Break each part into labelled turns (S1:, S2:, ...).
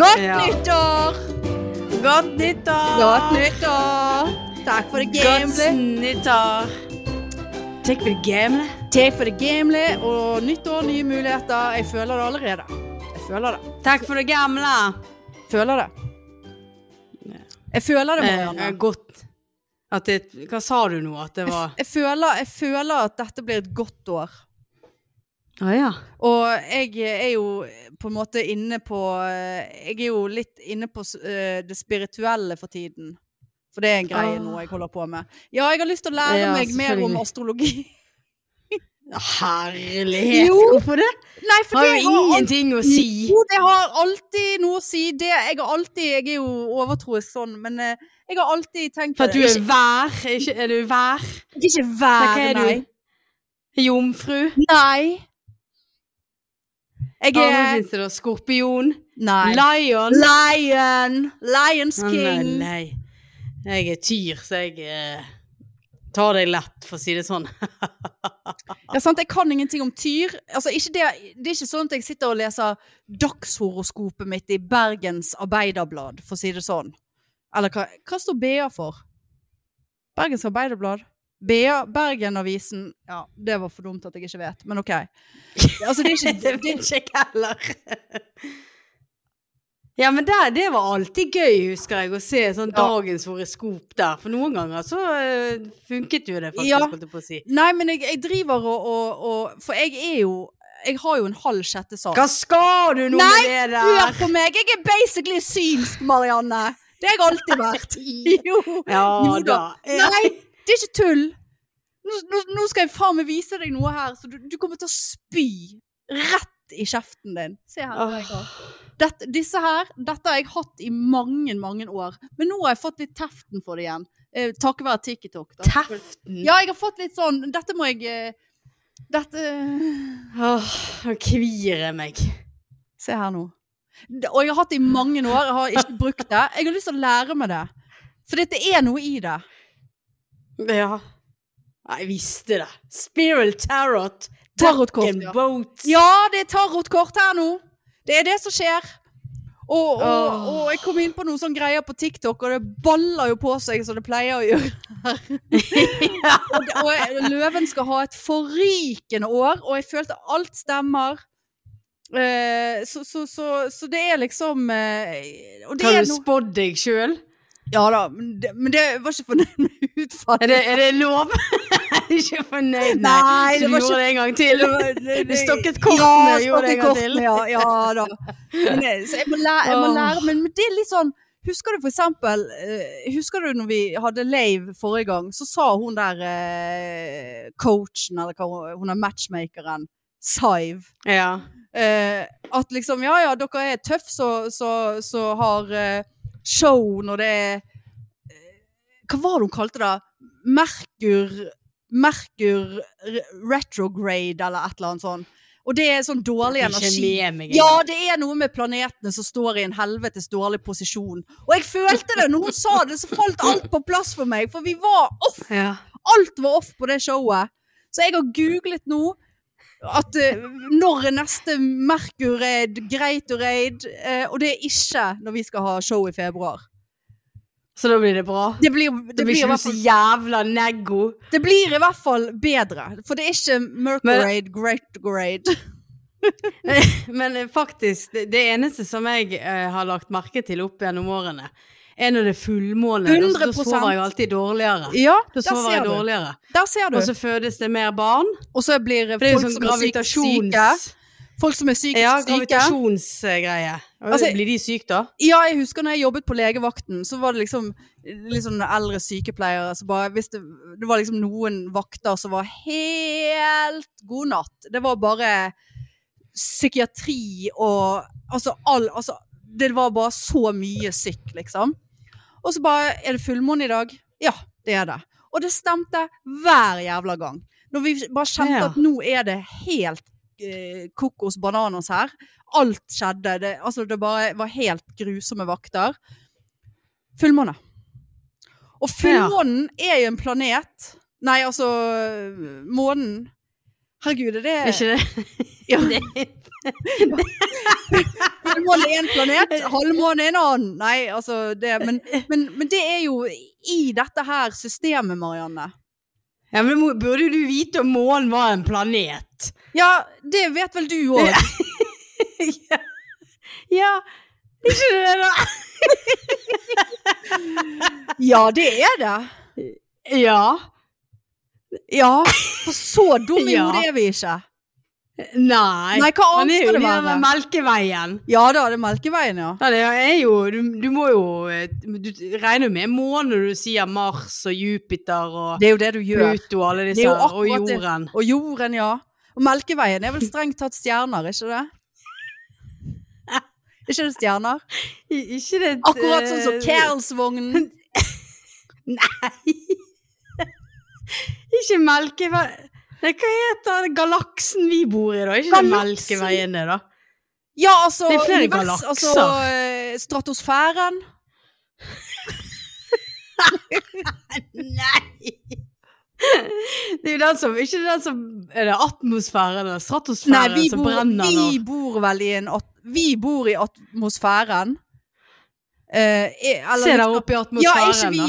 S1: Godt
S2: Ja.
S1: nyttår!
S2: Godt nyttår!
S1: Godt nyttår! Takk for det
S2: Godt
S1: gamle.
S2: nyttår! Takk for det gamle.
S1: Takk for det gamle, og nyttår, nye muligheter. Jeg føler det allerede. Jeg føler det.
S2: Takk for det gamle.
S1: Føler det. Jeg føler det,
S2: Eh,
S1: Marianne.
S2: godt. At det, hva sa du nå? At det var
S1: Jeg, jeg, føler, jeg føler at dette blir et godt år.
S2: Å ja.
S1: Og jeg er jo på en måte inne på eh, Jeg er jo litt inne på eh, det spirituelle for tiden. For det er en greie
S2: Ah.
S1: nå jeg holder på med. Ja, jeg har lyst til å lære
S2: Ja,
S1: meg mer om
S2: selvfølgelig.
S1: astrologi.
S2: Herlighet!
S1: Jo.
S2: Hvorfor det?
S1: Nei, for
S2: Har
S1: det
S2: jo ingenting å si.
S1: Jo, det har alltid noe å si. Det, jeg har alltid Jeg er jo overtroisk sånn, men eh, jeg har alltid tenkt
S2: For at du
S1: det.
S2: er vær? Er Ikke, er du vær?
S1: Ikke, ikke
S2: Hva
S1: være,
S2: er
S1: nei.
S2: du? Jomfru?
S1: Nei. Jeg
S2: Hva
S1: er
S2: finnes det da? Skorpion?
S1: Nei.
S2: Lion?
S1: Lion. Lions
S2: Å,
S1: king.
S2: Nei, nei. Jeg er tyr, så jeg eh, tar deg lett, for å si det sånn.
S1: Ja, sant? Jeg kan ingenting om tyr. Altså, ikke det, det er ikke sånn at jeg sitter og leser dagshoroskopet mitt i Bergens Arbeiderblad, for å si det sånn. Eller hva, hva står BA for? Bergens Arbeiderblad? BA, Bergenavisen Ja, det var for dumt at jeg ikke vet, men OK. Altså,
S2: Det
S1: det er ikke det,
S2: vet ikke jeg heller. Ja, men der, det var alltid gøy, husker jeg, å se sånn
S1: Ja.
S2: dagens horoskop der. For noen ganger så eh, funket jo det, faktisk,
S1: Ja.
S2: holdt jeg på å si.
S1: Nei, men jeg, jeg driver og, og, og For jeg er jo Jeg har jo en halv sjette sans.
S2: Hva skal du nå
S1: Nei,
S2: med det
S1: Hør
S2: der?
S1: på meg! Jeg er basically synsk, Marianne! Det har jeg alltid vært. Jo.
S2: Ja
S1: Jo
S2: da.
S1: da.
S2: Ja.
S1: Nei, det er ikke tull. Nå, nå, nå skal jeg faen meg vise deg noe her, så du, du kommer til å spy rett i kjeften din. Se her. hva jeg har. Dette, disse her, dette har jeg hatt i mange, mange år. Men nå har jeg fått litt teften for det igjen. Eh, takket være TikTok. Da.
S2: Teften.
S1: Ja, jeg har fått litt sånn Dette må jeg eh, Dette
S2: Åh, nå kvir jeg meg.
S1: Se her nå. D- Og jeg har hatt det i mange år. Jeg har ikke brukt det. Jeg har lyst til å lære meg det. For det er noe i det.
S2: Ja. Jeg visste det. Spiral Tarot.
S1: Tarotkort,
S2: Duck
S1: ja.
S2: and Boat.
S1: Ja, det er tarotkort her nå. Det er det som skjer. Og, og,
S2: Åh.
S1: og jeg kom inn på noen sånne greier på TikTok, og det baller jo på seg som det pleier å gjøre. og, det, og Løven skal ha et forrykende år, og jeg følte alt stemmer. Eh, så, så, så, så det er liksom eh, Og det
S2: Har
S1: er
S2: du
S1: noe
S2: spådd deg sjøl?
S1: Ja da, men det, men det var ikke fornøyd med
S2: Er,
S1: utfallet.
S2: det- er det lov? ikke fornøyd? Så
S1: Nei, det
S2: du gjorde
S1: var ikke-
S2: det en gang til?
S1: Du
S2: Du stokket kortene,
S1: ja,
S2: gjorde
S1: stokket
S2: jeg en gang til.
S1: kortene, Ja, ja da. Men, eh, så jeg må lære, jeg må
S2: Åh.
S1: lære men, men det er litt sånn Husker du for eksempel eh, Husker du når vi hadde Lave forrige gang, så sa hun der eh, coachen, eller hva hun- hun er matchmakeren, Sive
S2: Ja.
S1: eh, at liksom, ja ja, dere er tøff så, så, så har eh, show når det er eh, Hva var det hun kalte det? Merkur Merkur re- retrograde eller et eller annet sånn. Og det er sånn dårlig energi.
S2: Ikke med meg engang.
S1: Ja, det er noe med planetene som står i en helvetes dårlig posisjon. Og jeg følte det når hun sa det, så falt alt på plass for meg. For vi var off
S2: Ja.
S1: Alt var off på det showet. Så jeg har googlet nå at eh, når er neste Merkur-raid, Greitoraid, eh, og det er ikke når vi skal ha show i februar.
S2: Så da blir det bra?
S1: Det blir,
S2: Det
S1: det
S2: blir
S1: blir, i
S2: ikke du
S1: hvert
S2: så
S1: fall,
S2: jævla neggo.
S1: det blir i hvert fall bedre, for det er ikke Merkur-raid, Greitoraid.
S2: Men eh, faktisk, det, det eneste som jeg eh, har lagt merke til opp gjennom årene, er når det er fullmåne. Da- Da
S1: 100%
S2: sover jeg alltid dårligere.
S1: Ja,
S2: Da
S1: der
S2: sover jeg
S1: ser du.
S2: dårligere.
S1: Der ser du.
S2: Og så fødes det mer barn.
S1: Og så blir
S2: For det er jo
S1: folk
S2: sånn
S1: som er psykisk syke,
S2: gravitasjons...
S1: folk som er psykisk
S2: Ja,
S1: syke
S2: gravitasjonsgreie. Og
S1: Altså-
S2: Blir de syke da?
S1: Ja, jeg husker når jeg jobbet på legevakten, så var det liksom litt sånn eldre sykepleiere som bare hvis det, det var liksom noen vakter som var helt god natt. Det var bare psykiatri og altså all altså, Det var bare så mye syk, liksom. Og så bare Er det fullmåne i dag? Ja, det er det. Og det stemte hver jævla gang. Når vi bare kjente
S2: Ja.
S1: at nå er det helt eh, kokos bananas her. Alt skjedde. Det, altså, det bare var helt grusomme vakter. Fullmåne. Og fullmånen er jo en planet Nei, altså månen Herregud, er det
S2: Er ikke det?
S1: Ja.
S2: det
S1: Halvmåne i en planet, halvmåne i en annen. Nei, altså det men, men, men det er jo i dette her systemet, Marianne.
S2: ja, men det må- burde jo du vite om månen var en planet?
S1: Ja, det vet vel du òg.
S2: ja. ja. Ikke det, da?
S1: Ja, det er det.
S2: Ja.
S1: Ja, for så dum i
S2: Ja.
S1: hodet er vi ikke.
S2: Nei.
S1: Nei, hva
S2: Han
S1: annet
S2: er jo
S1: skal det
S2: nede ved
S1: være?
S2: Melkeveien.
S1: Ja da, det er Melkeveien, ja.
S2: Ja, det er jo Du, du må jo eh, Du regner jo med månen når du sier Mars og Jupiter og
S1: Det er jo det du gjør.
S2: Pluto og alle
S1: Det
S2: disse
S1: er jo
S2: her, og
S1: akkurat det.
S2: jorden.
S1: Og jorden, ja. Og Melkeveien er vel strengt tatt stjerner, ikke det? Ikke det stjerner?
S2: I- Ikke det
S1: Akkurat sånn som
S2: eh,
S1: Kærelsvognen.
S2: Ikke Melkeveien Nei, hva heter den galaksen vi bor i, da? Ikke det
S1: Galaksen?
S2: Melkeveiene, da?
S1: Ja, altså
S2: Det er flere
S1: univers-
S2: galakser.
S1: Altså, eh, stratosfæren.
S2: Nei! Det er jo den som Ikke den som Er det atmosfæren eller
S1: Nei,
S2: stratosfæren
S1: vi
S2: som
S1: bor,
S2: brenner nå?
S1: vi bor vel i en at, Vi bor i atmosfæren. Eh, er- eller
S2: Se
S1: liksom-
S2: der oppe i
S1: Ja,
S2: atmosfæren,
S1: er ikke vi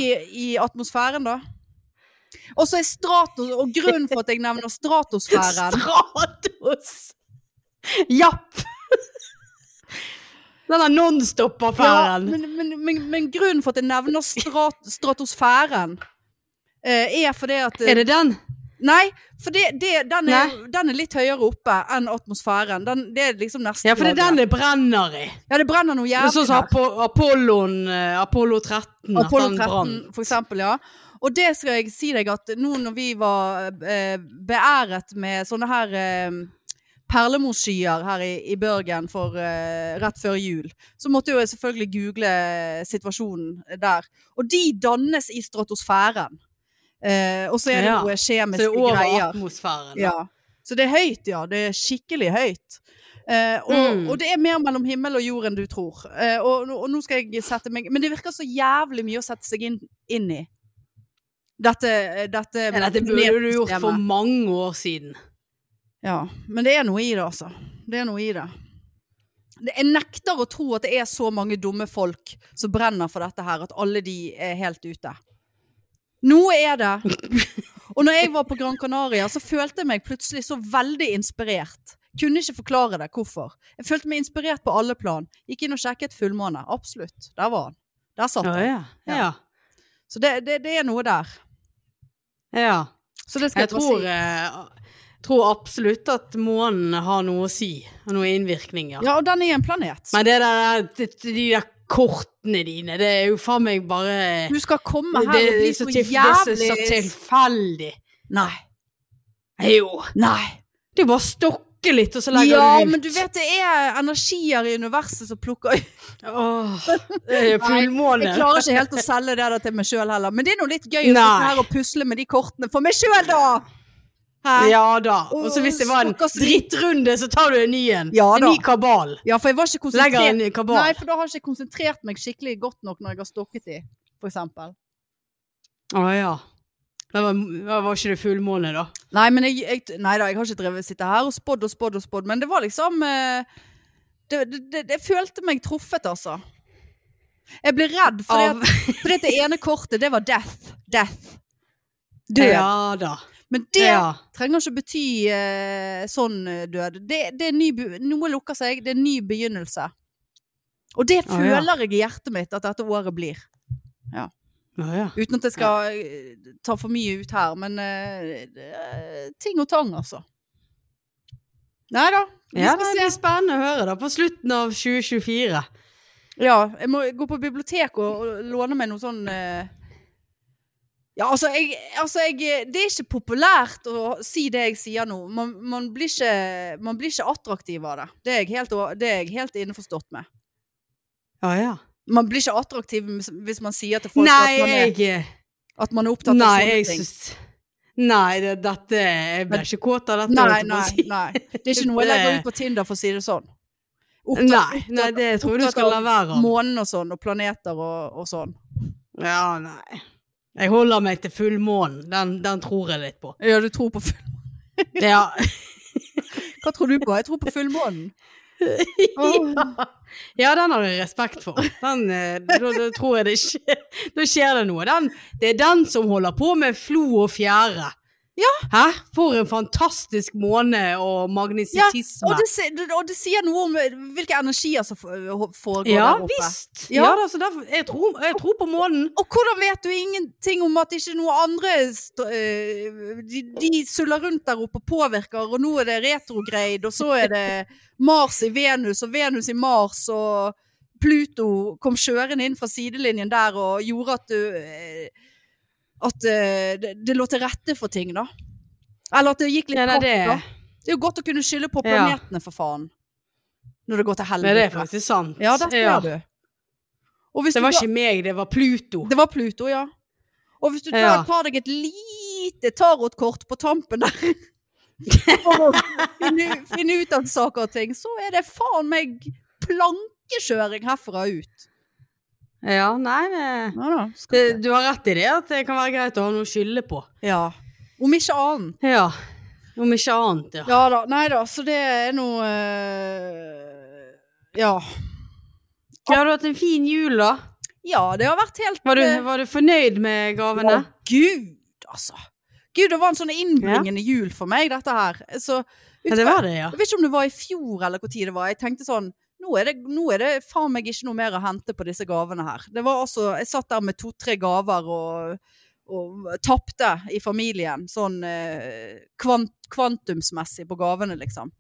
S1: i, i atmosfæren, da? Og så er stratos Og grunnen for at jeg nevner stratosfæren
S2: Stratos! Japp! Denne
S1: ja,
S2: nonstop-affæren.
S1: men, men, men, men grunnen for at jeg nevner strat, stratosfæren, eh, er fordi at
S2: er det den?
S1: Nei, for det, det, den, er,
S2: Nei.
S1: den er litt høyere oppe enn atmosfæren. Den, det er liksom neste
S2: Ja, for det er den
S1: laget.
S2: det brenner i.
S1: Ja, det brenner noe
S2: Det er
S1: jævlig.
S2: sånn som
S1: der.
S2: Apo Apollon, eh, Apollo 13. at
S1: Apollo
S2: den
S1: 13,
S2: brant.
S1: for eksempel, ja. Og det skal jeg si deg at nå når vi var eh, beæret med sånne her eh, perlemorskyer her i, i Børgen for, eh, rett før jul, så måtte jo jeg selvfølgelig google eh, situasjonen der. Og de dannes i stratosfæren. Eh, og så er det
S2: Ja.
S1: noe
S2: Så det
S1: kjemiske
S2: er over
S1: greier.
S2: atmosfæren.
S1: Ja. Så det er høyt, ja. Det er skikkelig høyt. Eh, og,
S2: Mm.
S1: og det er mer mellom himmel og jord enn du tror. Eh, og, nå- og nå skal jeg sette meg Men det virker så jævlig mye å sette seg inn, inn i. Dette, dette,
S2: Ja, dette burde du gjort for mange år siden.
S1: Ja. Men det er noe i det, altså. Det er noe i det. Det- Jeg nekter å tro at det er så mange dumme folk som brenner for dette her, at alle de er helt ute. Nå er det. Og når jeg var på Gran Canaria, så følte jeg meg plutselig så veldig inspirert. Kunne ikke forklare det hvorfor. Jeg følte meg inspirert på alle plan. Gikk inn og sjekket fullmåne. Absolutt. Der var han. Der satt han.
S2: ja. ja.
S1: Så det, det, det er noe der.
S2: ja.
S1: Så det skal
S2: Jeg
S1: jeg, bare
S2: tror,
S1: si.
S2: eh, tror absolutt at månen har noe å si, og noen innvirkninger.
S1: Ja, og den er en planet.
S2: Men det der, det, de der kortene dine, det er jo faen meg bare
S1: du skal komme her
S2: det,
S1: og bli
S2: er så
S1: så
S2: til- det er så, så
S1: jævlig
S2: tilfeldig.
S1: Nei.
S2: Jo.
S1: Nei.
S2: Det er bare å stokke litt, og så legger
S1: ja,
S2: du
S1: men
S2: det ut.
S1: du vet det er energier i universet som plukker ut
S2: Åh, det er fullmåne.
S1: Jeg klarer ikke helt å selge det der til meg sjøl heller. Men det er nå litt gøy å sitte
S2: Nei.
S1: her og pusle med de kortene for meg sjøl, da! Hæ? Ja.
S2: Ja da. Og så
S1: Åh,
S2: hvis det var en
S1: stakkars liten-
S2: drittrunde, så tar du en ny en.
S1: Ja
S2: en
S1: da.
S2: ny kabal.
S1: for jeg var ikke
S2: Legger
S1: konsentrert.
S2: en kabal.
S1: Nei, for da har jeg ikke konsentrert meg skikkelig godt nok når jeg har stokket de, for eksempel.
S2: Å ja. Da var, da var ikke det fullmåne, da.
S1: Nei, men jeg, jeg, nei da, jeg har ikke drevet sitte her og spådd og spådd og spådd, men det var liksom eh, det, det, det, det følte meg truffet, altså. Jeg ble redd, fordi,
S2: Av-
S1: at, fordi at det ene kortet, det var death. Death. Død.
S2: Ja da.
S1: Men det
S2: Ja.
S1: trenger ikke bety eh, sånn eh, død. Det, det er ny, be- noe lukker seg, det er en ny begynnelse. Og det
S2: Å, ja.
S1: føler jeg i hjertet mitt at dette året blir.
S2: Å ja.
S1: Uten at jeg skal eh, ta for mye ut her, men eh, eh, ting og tang, altså. Nei da. Vi
S2: Ja,
S1: skal
S2: det
S1: se.
S2: blir spennende å høre da, på slutten av 2024.
S1: Ja, jeg må gå på biblioteket og, og låne meg noe sånn eh, Ja, altså, jeg, altså jeg, det er ikke populært å si det jeg sier nå. Man, man, blir, ikke, man blir ikke attraktiv av det. Det er jeg helt, å- det er jeg helt innforstått med.
S2: Ja, ja.
S1: Man blir ikke attraktiv hvis- hvis man sier til folk
S2: Nei,
S1: at man, er,
S2: jeg,
S1: at man er opptatt av
S2: nei,
S1: sånne
S2: jeg
S1: ting.
S2: syns Nei, det, dette Jeg ble ikke kåt av dette.
S1: Nei,
S2: holdt jeg på å
S1: nei,
S2: si.
S1: nei. Det er ikke noe jeg legger ut på Tinder, for å si det sånn. Opptatt-
S2: nei, nei, det tror jeg du
S1: opptatt
S2: skal la
S1: av
S2: være av.
S1: Månen og sånn, og planeter og, og sånn.
S2: Ja, nei. Jeg holder meg til fullmånen. Den, den tror jeg litt på.
S1: Ja, du tror på full
S2: Ja.
S1: Hva tror du på? Jeg tror på fullmånen.
S2: ja, den har jeg respekt for. Den, eh, da, da tror jeg det skjer, da skjer det noe. Den, det er den som holder på med flo og fjære. Hæ? For en fantastisk måned og
S1: Og,
S2: magnetisisme.
S1: det, si- det- og det sier noe om eh, hvilke energier som fo- foregår
S2: Ja,
S1: der oppe.
S2: visst.
S1: Ja.
S2: Ja, da, så derfor, jeg, tror, jeg tror på månen.
S1: Og hvordan vet du ingenting om at ikke noe andre st øh, de, de suller rundt der oppe og påvirker, og nå er det retrograde, og så er det Mars i Venus, og Venus i Mars, og Pluto kom kjørende inn fra sidelinjen der og gjorde at du øh, At øh, det, det lå til rette for ting, da. Eller at det gikk litt
S2: Ja, nei,
S1: kort,
S2: det-
S1: da. Det er jo godt å kunne skylde på
S2: Ja.
S1: planetene, for faen. Når det går til
S2: Men det er
S1: helvete.
S2: faktisk sant.
S1: Ja, dette
S2: Ja.
S1: gjør du. Og hvis
S2: Det
S1: du
S2: var
S1: da-
S2: ikke meg, det var Pluto.
S1: det var Pluto, ja. Og hvis du da
S2: Ja.
S1: tar deg et lite tarotkort på tampen der for å finne, finne ut av saker og ting, så er det faen meg plankekjøring herfra og ut.
S2: Ja, nei, det,
S1: Ja da.
S2: det, du har rett i det, at det kan være greit å ha noe å skylde på.
S1: Ja. Om ikke annet.
S2: Ja. Om ikke annet, ja.
S1: Ja da. Nei da, så det er noe eh, Ja.
S2: Har du hatt en fin jul, da?
S1: Ja, det har vært helt
S2: Var du,
S1: eh,
S2: var du fornøyd med gavene?
S1: Å, Gud, altså. Gud, det var en sånn innbringende jul for meg, dette her. Så,
S2: Ja, det var det, ja.
S1: Jeg vet ikke om det var i fjor eller hvor tid det var. Jeg tenkte sånn nå er, det, nå er det faen meg ikke noe mer å hente på disse gavene her. Det var altså, Jeg satt der med to-tre gaver og, og tapte i familien, sånn eh, kvant, kvantumsmessig på gavene, liksom.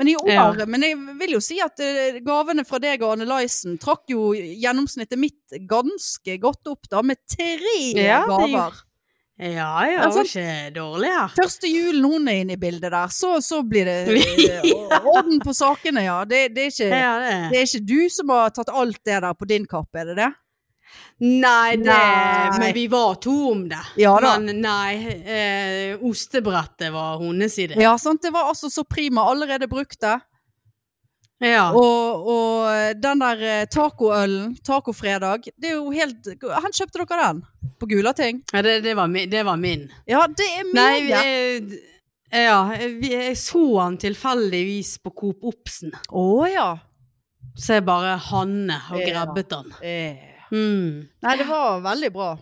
S1: Men i år
S2: Ja.
S1: Men jeg vil jo si at eh, gavene fra deg og Annelaisen trakk jo gjennomsnittet mitt ganske godt opp, da, med tre
S2: Ja, det
S1: gaver.
S2: Ja,
S1: Ja,
S2: ja, det
S1: sant.
S2: var ikke dårlig her.
S1: Første julen hun er inne i bildet der, så, så blir det eh, orden på sakene, ja. Det, det, er ikke,
S2: Ja, det.
S1: det er ikke du som har tatt alt det der på din kappe, er det det?
S2: Nei, det
S1: Nei.
S2: Men vi var to om det.
S1: Ja da.
S2: Men nei, eh, ostebrettet var hennes idé.
S1: Ja, sant. Det var altså så prima. Allerede brukte.
S2: Ja.
S1: Og, og den der eh, tacoølen, tacofredag, det er jo helt Hvor kjøpte dere den? På Gulating?
S2: ja det, det, var min, det var min.
S1: Ja, det er mye.
S2: Nei, vi, eh, ja, vi, jeg så han tilfeldigvis på Coop Obsen.
S1: Å ja.
S2: Så jeg bare Hanne og
S1: Ja.
S2: grabbet han.
S1: Eh.
S2: Mm.
S1: Nei, det var veldig bra.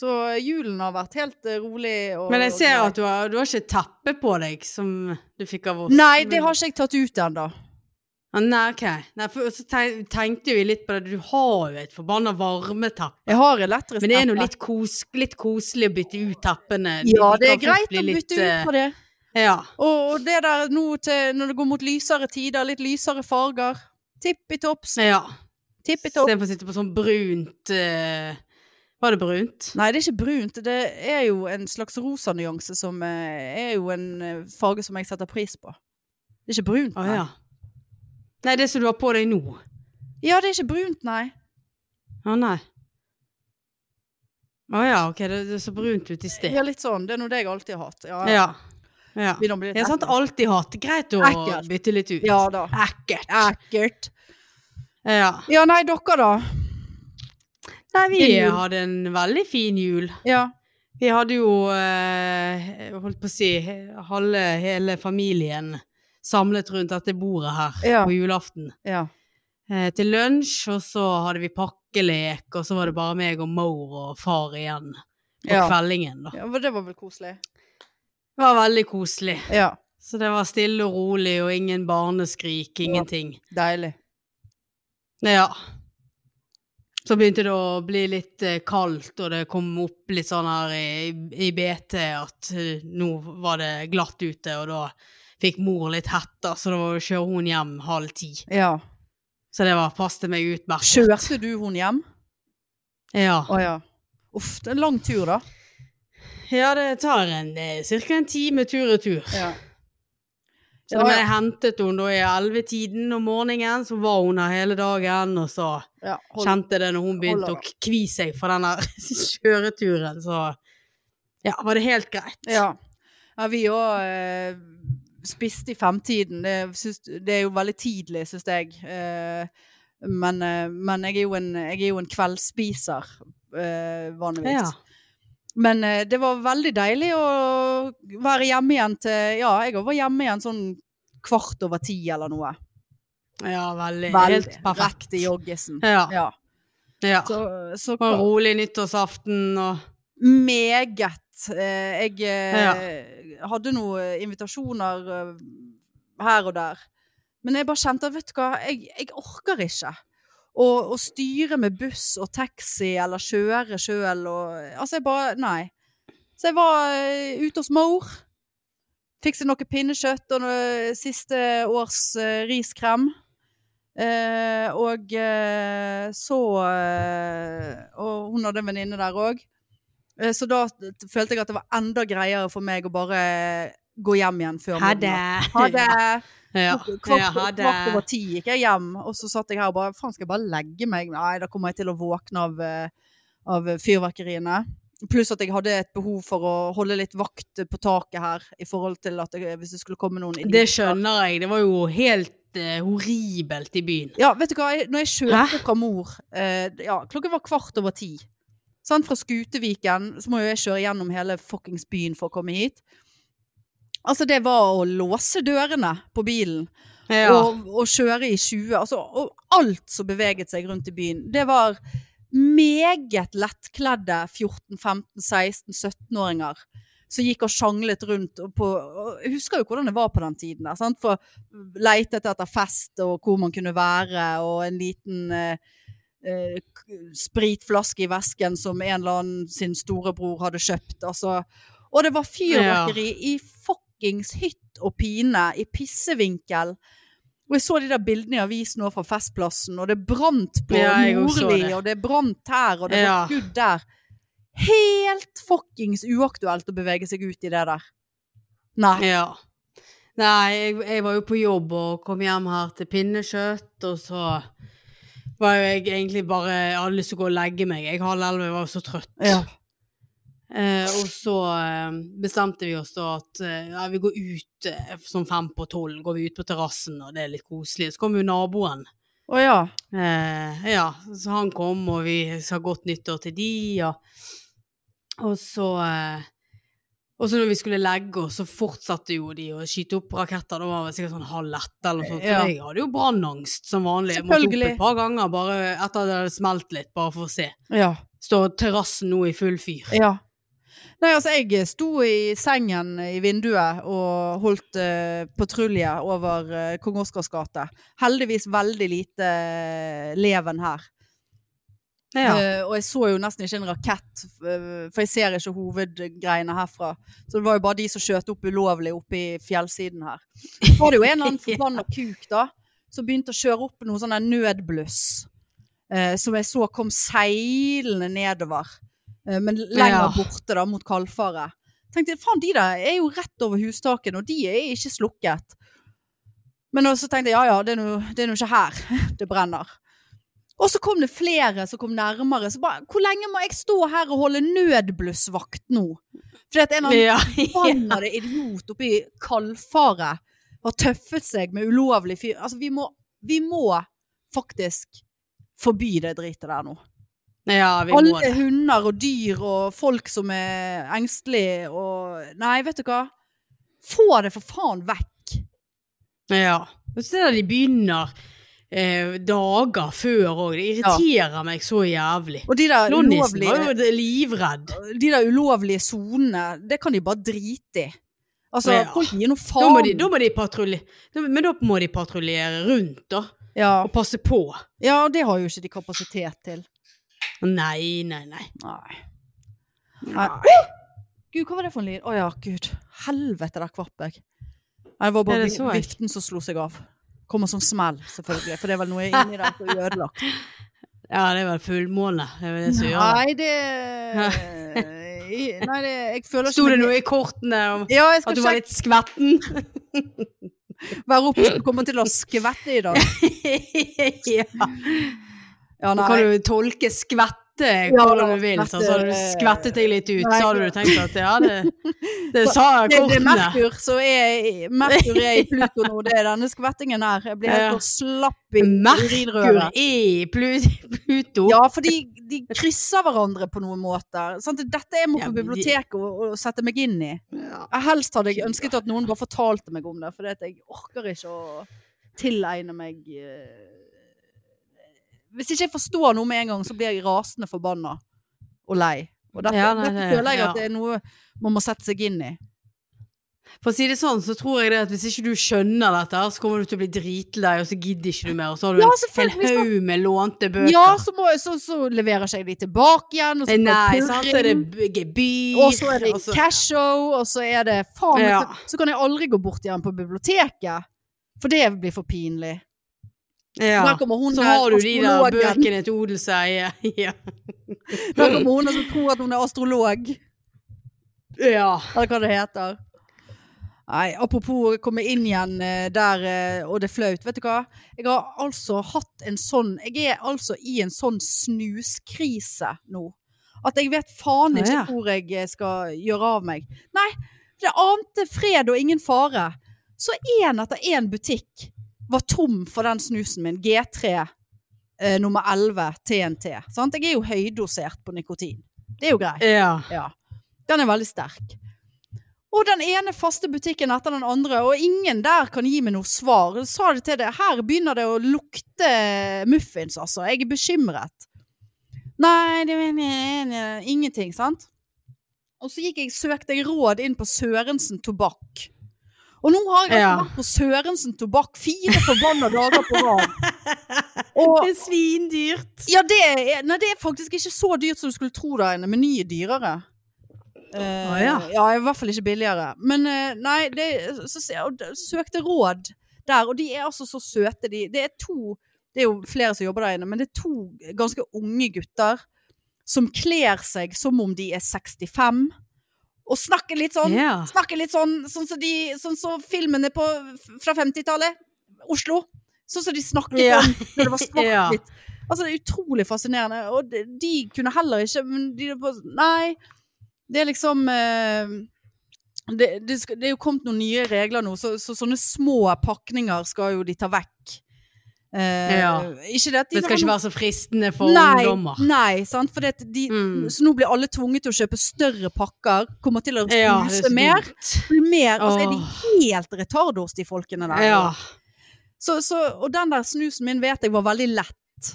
S1: Så julen har vært helt eh, rolig og
S2: Men jeg ser
S1: grei.
S2: at du har, du har ikke teppe på deg som du fikk av oss.
S1: Nei, det har ikke jeg tatt ut ennå.
S2: Ah, Nei, ok. Nei, for så ten- tenkte vi litt på det. Du har jo et forbanna varmeteppe.
S1: Jeg har elektrisk
S2: Men det er nå
S1: teppe.
S2: litt, kos, litt koselig å bytte ut teppene. De-
S1: Ja,
S2: de
S1: det er
S2: kan fort
S1: greit
S2: bli
S1: å
S2: litt,
S1: bytte ut på det.
S2: eh, Ja.
S1: Og, og det der nå til når det går mot lysere tider, litt lysere farger. Tippitopps,
S2: ja.
S1: tippitopp.
S2: Istedenfor å sitte på sånn brunt eh, Var det brunt?
S1: Nei, det er ikke brunt. Det er jo en slags rosa nyanse som eh, er jo en eh, farge som jeg setter pris på. Det er ikke brunt,
S2: Å
S1: nei.
S2: ja. Nei, det som du har på deg nå.
S1: Ja, det er ikke brunt, nei.
S2: Å nei. Å ja, ok. Det, det så brunt ut i sted.
S1: Ja, litt sånn. Det er noe det jeg alltid har hatt. Ja,
S2: Ja. ja.
S1: Vi da blir litt
S2: Jeg har sant
S1: ekle.
S2: alltid hatt greit å
S1: Ekkelt.
S2: bytte litt ut.
S1: Ja da.
S2: Ekkelt.
S1: Ekkelt.
S2: Ja.
S1: Ja, nei, dere da?
S2: Nei, vi
S1: Fin jul.
S2: hadde en veldig fin jul.
S1: Ja.
S2: Vi hadde jo, eh, holdt på å si, halve, hele familien samlet rundt dette bordet her
S1: Ja.
S2: på julaften.
S1: ja.
S2: Eh, til lunsj, og så hadde vi pakkelek, og så var det bare meg og mor og far igjen på
S1: Ja.
S2: kveldingen. Da.
S1: ja men det var vel koselig.
S2: Det var veldig koselig.
S1: Ja.
S2: Så det var stille og rolig, og ingen barneskrik, ingenting.
S1: Deilig.
S2: Ja. Så begynte det å bli litt eh, kaldt, og det kom opp litt sånn her i, i BT at eh, nå var det glatt ute, og da fikk mor litt hetta, så da var det å kjøre hun hjem halv ti.
S1: Ja.
S2: Så det var pass til meg utmerket.
S1: Kjørte du hun hjem?
S2: Ja.
S1: Å ja. Uff, det er en lang tur, da.
S2: ja, det tar en, eh, cirka en time tur-retur.
S1: Ja.
S2: Så
S1: Ja,
S2: da
S1: ja.
S2: jeg hentet hun da i elvetiden om morgenen, så var hun her hele dagen, og så
S1: Ja, hold-
S2: kjente det når hun begynte
S1: holder
S2: å kvi seg for denne kjøreturen, så ja, var det helt greit.
S1: ja. ja vi òg eh, spiste i femtiden. Det, syns- det er jo veldig tidlig, syns jeg. Eh, men eh, men jeg, er jo en, jeg er jo en kveldsspiser eh, vanligvis.
S2: Ja.
S1: Men eh, det var veldig deilig å være hjemme igjen til Ja, jeg var hjemme igjen sånn kvart over ti eller noe.
S2: Ja, veldig. Helt
S1: Veldig.
S2: perfekt.
S1: Rett i joggesen.
S2: Ja.
S1: Ja.
S2: ja.
S1: Så, så
S2: Og en rolig nyttårsaften og
S1: Meget. Eh, Jeg eh, hadde noen invitasjoner eh, her og der. Men jeg bare kjente vet du hva, jeg, jeg orker ikke å, å styre med buss og taxi eller kjøre sjøl. Altså, jeg bare Nei. Så jeg var eh, ute hos mor. Fikset noe pinnekjøtt og noe siste års eh, riskrem. Eh, og eh, så eh, Og hun hadde en venninne der òg. Eh, så da t- t- følte jeg at det var enda greiere for meg å bare gå hjem igjen før
S2: Ha det.
S1: midnatt. Ha det!
S2: Ja.
S1: Kvart,
S2: Ja, ha
S1: kvart over
S2: det.
S1: ti gikk jeg hjem, og så satt jeg her og bare Faen, skal jeg bare legge meg? Nei, da kommer jeg til å våkne av, eh, av fyrverkeriene. Pluss at jeg hadde et behov for å holde litt vakt på taket her, i forhold til at jeg, hvis det skulle komme noen idioter.
S2: Det skjønner jeg. Det var jo helt eh, horribelt i byen.
S1: Ja, vet du hva, jeg, når jeg kjørte
S2: Hæ?
S1: fra mor eh, Ja, klokken var kvart over ti. Sant? Fra Skuteviken, så må jo jeg kjøre gjennom hele fuckings byen for å komme hit. Altså, det var å låse dørene på bilen.
S2: Ja.
S1: og, og kjøre i 20. Altså, og alt som beveget seg rundt i byen. Det var meget lettkledde 14-15-16-17-åringer som gikk og sjanglet rundt. Og på, og jeg husker jo hvordan det var på den tiden. Der, sant? For leitet etter fest og hvor man kunne være, og en liten eh, eh, k- spritflaske i vesken som en eller annen sin storebror hadde kjøpt. Altså, og det var fyrverkeri i fuckings hytt og pine, i pissevinkel. Og jeg så de der bildene i avisen nå fra Festplassen, og det brant på
S2: Ja, jeg også så
S1: Nordli,
S2: det.
S1: og det brant her, og det
S2: Ja.
S1: var skudd der. Helt fuckings uaktuelt å bevege seg ut i det der. Nei.
S2: Ja. Nei, jeg, jeg var jo på jobb og kom hjem her til pinnekjøtt, og så var jo jeg egentlig bare Jeg hadde lyst til å gå og legge meg. Jeg halv elleve jeg var jo så trøtt.
S1: Ja.
S2: Eh, og så eh, bestemte vi oss da at eh, ja, vi går ut eh, sånn fem på tolv, går vi ut på terrassen, og det er litt koselig. Så kom jo naboen.
S1: Å ja.
S2: Eh, ja, så han kom, og vi sa godt nyttår til de, og, og så eh, Og så når vi skulle legge oss, så fortsatte jo de å skyte opp raketter. Da var det sikkert sånn halv ett eller noe sånt.
S1: Ja.
S2: Så jeg hadde jo brannangst som vanlig. Jeg måtte opp
S1: Selvfølgelig.
S2: et par ganger bare etter at det hadde smelt litt, bare for å se.
S1: Ja.
S2: Står terrassen nå i full fyr.
S1: Ja. Nei, altså, jeg sto i sengen i vinduet og holdt eh, patrulje over eh, Kong Oscars gate. Heldigvis veldig lite eh, leven her.
S2: Ja.
S1: Eh, og jeg så jo nesten ikke en rakett, eh, for jeg ser ikke hovedgreiene herfra. Så det var jo bare de som skjøt opp ulovlig oppe i fjellsiden her. Så var det jo en eller annen forbanna kuk, da, som begynte å kjøre opp noe sånn der nødbluss. eh, som jeg så kom seilende nedover. eh, men lenger
S2: Ja.
S1: borte, da, mot Kalfaret. Tenkte jeg, faen, de der er jo rett over hustaken, og de er ikke slukket. Men også tenkte jeg, ja ja, det er nå- det er nå ikke her det brenner. Og så kom det flere som kom nærmere. Så bare, hvor lenge må jeg stå her og holde nødblussvakt nå? Fordi at en eller annen
S2: Ja.
S1: forbannede idiot oppe i Kalfaret har tøffet seg med ulovlig fyr. Altså, vi må, vi må faktisk forby det dritet der nå.
S2: ja, vi må
S1: Alle
S2: det.
S1: hunder og dyr og folk som er engstelige og Nei, vet du hva? Få det for faen vekk.
S2: Ja. Og så er det de begynner eh, dager før òg. Det irriterer meg så jævlig.
S1: Og de der
S2: Nonnisen
S1: ulovlige
S2: var jo d- livredd.
S1: de der ulovlige sonene, det kan de bare drite i. Altså,
S2: Ja.
S1: folk gir noe
S2: Da
S1: faen.
S2: må de, da må de patrulje- da- Men da må de patruljere rundt, da.
S1: ja.
S2: Og passe på.
S1: ja, det har jo ikke de kapasitet til.
S2: Nei, nei, nei.
S1: Nei.
S2: nei.
S1: Gud, hva var det for en lyd? Å ja, gud. Helvete, der kvapp jeg. Nei, det var
S2: Ja,
S1: bare
S2: det så jeg.
S1: viften som slo seg av. Kommer som smell, selvfølgelig. For det er vel noe inni der som er ødelagt.
S2: Ja, det er vel fullmåne. Det er vel det som gjør det.
S1: Nei, det Nei, det Jeg føler
S2: Sto det noe i kortene om
S1: Ja, jeg
S2: at
S1: skal
S2: du var
S1: sjekke
S2: litt skvetten?
S1: Vær oppe, du kommer til å skvette i dag.
S2: ja.
S1: Ja,
S2: Nå
S1: nei.
S2: kan du tolke skvett skvette hvordan du vil. Sånn, så hadde du skvettet deg litt ut, så hadde du tenkt at ja, det, det sa
S1: Det, det er
S2: kortene.
S1: Merkur som er, Merkur er i Pluto nå, det er denne skvettingen her. Jeg blir
S2: Ja.
S1: helt for slapp i
S2: Merkur
S1: urinrøret.
S2: i Plu- Pluto.
S1: Ja, for de, de krysser hverandre på noen måter. Sant? Dette jeg må
S2: Ja,
S1: på
S2: men de-
S1: biblioteket og, og sette meg inn i.
S2: Ja.
S1: Jeg Helst hadde jeg ønsket at noen bare fortalte meg om det, for jeg orker ikke å tilegne meg eh, Hvis ikke jeg forstår noe med en gang, så blir jeg rasende forbanna og lei. Og dette,
S2: Ja, nei,
S1: dette
S2: det-
S1: føler jeg
S2: ja.
S1: at det er noe man må sette seg inn i.
S2: For å si det sånn, så tror jeg det at hvis ikke du skjønner dette, her, så kommer du til å bli dritlei, og så gidder ikke du mer, og så har du
S1: Ja,
S2: en
S1: selvfølgelig,
S2: hel haug med lånte bøker.
S1: Ja, så, må, så, så leverer ikke jeg de tilbake igjen. Og så,
S2: Nei,
S1: får jeg
S2: sant, så er det
S1: purring,
S2: b- gebyr
S1: og så er det
S2: og så-
S1: cash-show, og så er det faen
S2: Ja.
S1: så- Så kan jeg aldri gå bort igjen på biblioteket, for det blir for pinlig.
S2: ja.
S1: Der kommer hun
S2: Så
S1: her,
S2: har du de der
S1: astrologen.
S2: bøkene til odelseie. Ja.
S1: Da kommer hun og så tror at hun er astrolog,
S2: ja.
S1: eller hva det heter. Nei, apropos å komme inn igjen eh, der, eh, og det er flaut, vet du hva? Jeg har altså hatt en sånn, jeg er altså i en sånn snuskrise nå. At jeg vet faen
S2: Å,
S1: ikke
S2: ja.
S1: hvor jeg eh, skal gjøre av meg. Nei, det ante fred og ingen fare. Så en etter en butikk var tom for den snusen min, G3 eh, nummer 11 TNT. Sant? Jeg er jo høydosert på nikotin. Det er jo greit.
S2: ja.
S1: Ja. Den er veldig sterk. Og den ene faste butikken etter den andre, og ingen der kan gi meg noe svar. Jeg sa det til deg, her begynner det å lukte muffins, altså. Jeg er bekymret. Nei, det er ingenting, sant? Og så gikk jeg, søkte jeg råd inn på Sørensen Tobakk. Og nå har jeg altså
S2: Ja.
S1: vært på Sørensen Tobakk fire forbanna dager på rad. Og
S2: Det er svindyrt.
S1: ja, det er, nei, det er faktisk ikke så dyrt som du skulle tro der inne, men ny er dyrere. Eh,
S2: Å, ja.
S1: i hvert fall ikke billigere. Men eh, nei, det, så, se- og d- søkte råd der, og de er altså så søte, de. Det er to Det er jo flere som jobber der inne, men det er to ganske unge gutter som kler seg som om de er 65, og snakker litt sånn
S2: Ja.
S1: Snakker litt sånn sånn som de, sånn som filmene på, fra 50-tallet. Oslo. Sånn som de snakket
S2: Ja.
S1: om når det var
S2: Ja.
S1: svart-hvitt. Altså, det er utrolig fascinerende. Og de, de kunne heller ikke men de, er på- Nei, det er liksom eh, det, det, skal, det er jo kommet noen nye regler nå, så, så sånne små pakninger skal jo de ta vekk. Eh,
S2: Ja.
S1: Ikke det at de
S2: Det skal
S1: har
S2: ikke
S1: noe-
S2: være så fristende for
S1: nei,
S2: ungdommer.
S1: Nei, sant? For det, at de,
S2: Mm.
S1: så nå blir alle tvunget til å kjøpe større pakker, kommer til å
S2: Ja, det
S1: snuse
S2: er så
S1: mer.
S2: dumt.
S1: Blir mer, altså er de
S2: Åh.
S1: helt retardos, de folkene der.
S2: Ja.
S1: Så, så, og den der snusen min vet jeg var veldig lett.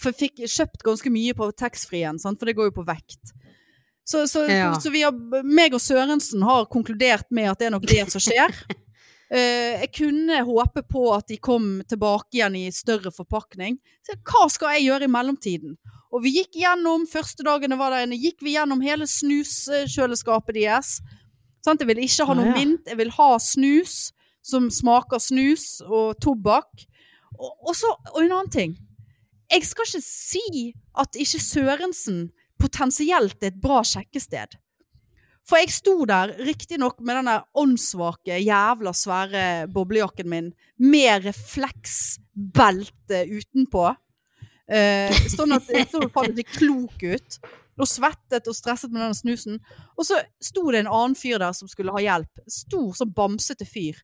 S1: For jeg fikk kjøpt ganske mye på taxfree-en, sant? for det går jo på vekt. Så, så,
S2: Ja.
S1: så vi har, meg og Sørensen har konkludert med at det er nok det som skjer. Eh, jeg kunne håpe på at de kom tilbake igjen i større forpakning. Så hva skal jeg gjøre i mellomtiden? Og vi gikk gjennom, første dagene var der inne, gikk vi gjennom hele snuskjøleskapet deres. Sant? Jeg vil ikke ha
S2: Ah,
S1: noe
S2: ja.
S1: mint, jeg vil ha snus som smaker snus og tobakk. Og, og, så, og en annen ting. Jeg skal ikke si at ikke Sørensen potensielt er et bra sjekkested. For jeg sto der, riktignok med den der åndssvake, jævla svære boblejakken min, med refleksbelte utenpå. Eh, sånn at jeg så faen litt klok ut. Og svettet og stresset med den snusen. Og så sto det en annen fyr der som skulle ha hjelp. Stor, sånn bamsete fyr.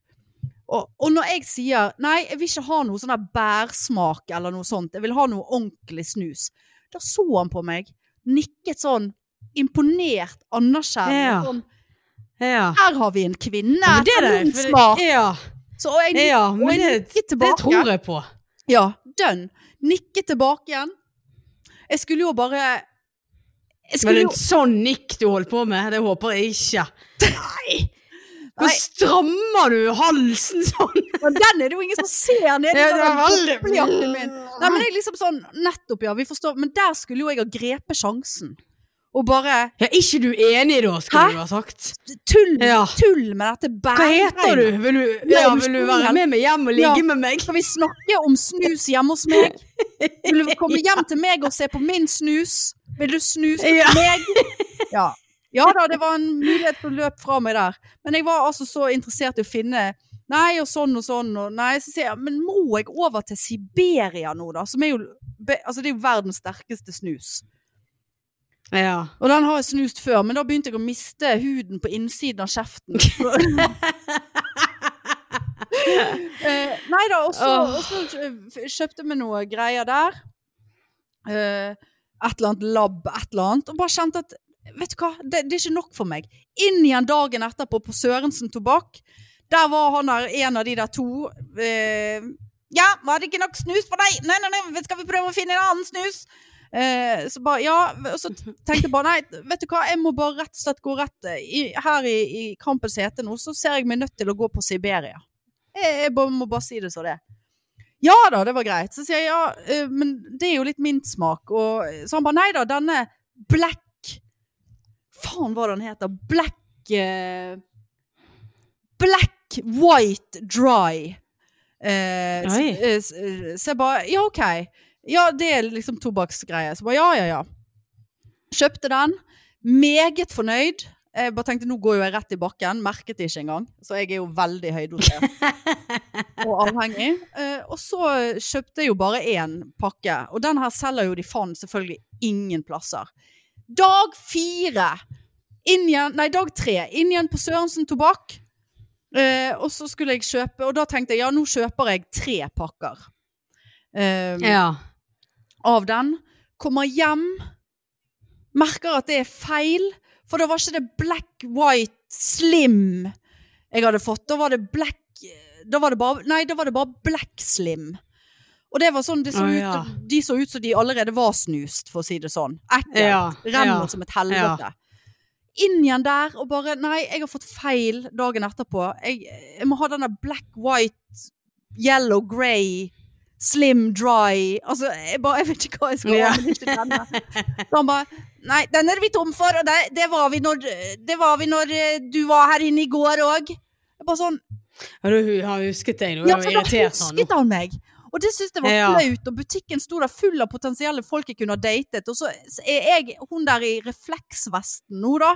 S1: Og, og når jeg sier nei, jeg vil ikke ha noe sånn der bærsmak eller noe sånt, jeg vil ha noe ordentlig snus, da så han på meg, nikket sånn imponert, anerkjennende.
S2: Ja.
S1: Sånn,
S2: Ja.
S1: her har vi en kvinne!
S2: Ja, men det er
S1: etter
S2: det.
S1: min
S2: for-
S1: smak.
S2: Ja,
S1: Så og jeg
S2: ja
S1: og
S2: men
S1: jeg
S2: det,
S1: nikket
S2: det
S1: tilbake.
S2: tror jeg på.
S1: Ja, dønn. Nikke tilbake igjen. Jeg skulle jo bare
S2: Men
S1: Jeg skulle jo
S2: en sånn nikk du holdt på med, det håper jeg ikke. Nei! Nå
S1: Nei.
S2: strammer du halsen sånn.
S1: Men Den er det jo ingen som ser nedi
S2: Ja,
S1: den
S2: det var veldig-
S1: boblejakken min. Nei, men det er liksom sånn Nettopp, ja. Vi forstår. Men der skulle jo jeg ha grepet sjansen. Og bare
S2: Ja, er ikke du enig da,
S1: Hæ?
S2: skulle du ha sagt.
S1: tull,
S2: Ja.
S1: tull med dette
S2: Hva
S1: bæregreiene.
S2: heter du? Vil du,
S1: Ja,
S2: ja,
S1: om
S2: vil du
S1: skolen.
S2: være med meg hjem og
S1: Ja.
S2: ligge med meg?
S1: Skal vi snakke om snus hjemme hos meg? Vil du komme hjem til meg og se på min snus? Vil du snuse
S2: Ja.
S1: på meg? Ja. ja da, det var en mulighet for løp fra meg der. Men jeg var altså så interessert i å finne Nei, og sånn og sånn og Nei, så sier jeg Men må jeg over til Siberia nå, da? Som er jo be- Altså, det er jo verdens sterkeste snus.
S2: Ja.
S1: Og den har jeg snust før, men da begynte jeg å miste huden på innsiden av kjeften. eh, nei da, og så
S2: Åh.
S1: og så kjø- kjøpte vi noe greier der. Eh, et eller annet lab, et eller annet. Og bare kjente at vet du hva, det, det er ikke nok for meg. Inn igjen dagen etterpå på Sørensen Tobakk. Der var han der, en av de der to. Eh, ja, var det ikke nok snus for deg? Nei, nei, nei, skal vi prøve å finne en annen snus? Eh, så bare, ja, og så tenkte jeg bare, nei, vet du hva, jeg må bare rett og slett gå rett eh, i, her i, i kampens hete nå, så ser jeg meg nødt til å gå på Siberia. Jeg, jeg bare, må bare si det så det. er. Ja da, det var greit. Så sier jeg, ja, eh, men det er jo litt min smak, og så han bare, nei da, denne Black, faen hva den heter, Black, eh, Black White Dry. Eh, s-
S2: Oi.
S1: eh, s- eh, så jeg bare, ja ok, ja det er liksom tobaksgreier, så bare, ja ja ja. Kjøpte den. Meget fornøyd. Jeg bare tenkte, nå går jo jeg rett i bakken. Merket det ikke engang. Så jeg er jo veldig høydosert. og avhengig. Eh, og så kjøpte jeg jo bare én pakke. Og den her selger jo de faen selvfølgelig ingen plasser. Dag fire! Inn igjen, nei, dag tre. Inn igjen på Sørensen Tobakk. Eh, og så skulle jeg kjøpe, og da tenkte jeg ja, nå kjøper jeg tre pakker. Eh,
S2: ja.
S1: av den, kommer hjem, merker at det er feil, for da var ikke det black, white, slim jeg hadde fått. Da var det black da var det bare, Nei, da var det bare black slim. Og det var sånn, det så
S2: Å,
S1: ut,
S2: ja.
S1: De så ut som de allerede var snust, for å si det sånn. Ekkelt.
S2: Ja,
S1: Renner
S2: ja,
S1: som et helvete. Inn igjen der og bare Nei, jeg har fått feil dagen etterpå. Jeg, jeg må ha denne black, white, yellow, grey Slim, dry Altså, jeg, bare, jeg vet ikke hva jeg skal
S2: Ja.
S1: ha, men ikke denne. Så han bare Nei, den er vi tom for, og det, det, var, vi når, det var vi når eh, du var her inne i går òg. Bare sånn
S2: Ja, du har husket deg nå.
S1: Ja,
S2: Du har
S1: for da
S2: irritert han nå.
S1: husket han meg! Og det syntes jeg var
S2: Ja.
S1: flaut, og butikken sto der full av potensielle folk jeg kunne ha datet, og så er jeg hun der i refleksvesten nå, da.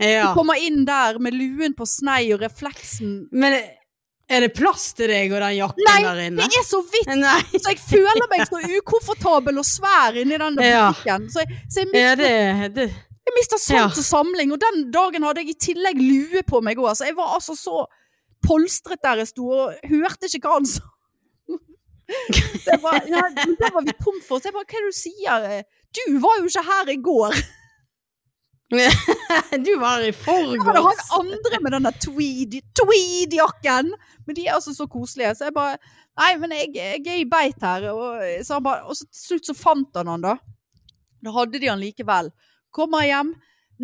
S2: Ja.
S1: Som kommer inn der med luen på snei og refleksen
S2: Men er det plass til deg og den jakken
S1: Nei,
S2: der
S1: Det
S2: inne?
S1: er så vidt!
S2: Nei.
S1: Så jeg føler meg så ukomfortabel og svær inni den der
S2: Ja.
S1: butikken. Så jeg, så jeg
S2: Ja, det, det.
S1: Jeg mista
S2: Ja.
S1: sans og samling, og den dagen hadde jeg i tillegg lue på meg òg. Så jeg var altså så polstret der jeg sto, og hørte ikke hva han sa. Det var, ja, men det var vi tom for. Så jeg bare Hva er det du sier? Du var jo ikke her i går.
S2: Du var i
S1: Det var det
S2: forgårs.
S1: han andre med den der tweed- tweed-jakken. Men de er altså så koselige. Så jeg bare Nei, men jeg, jeg er i beit her. Og så, han bare, og så til slutt så fant han han, da. Da hadde de han likevel. Kommer jeg hjem.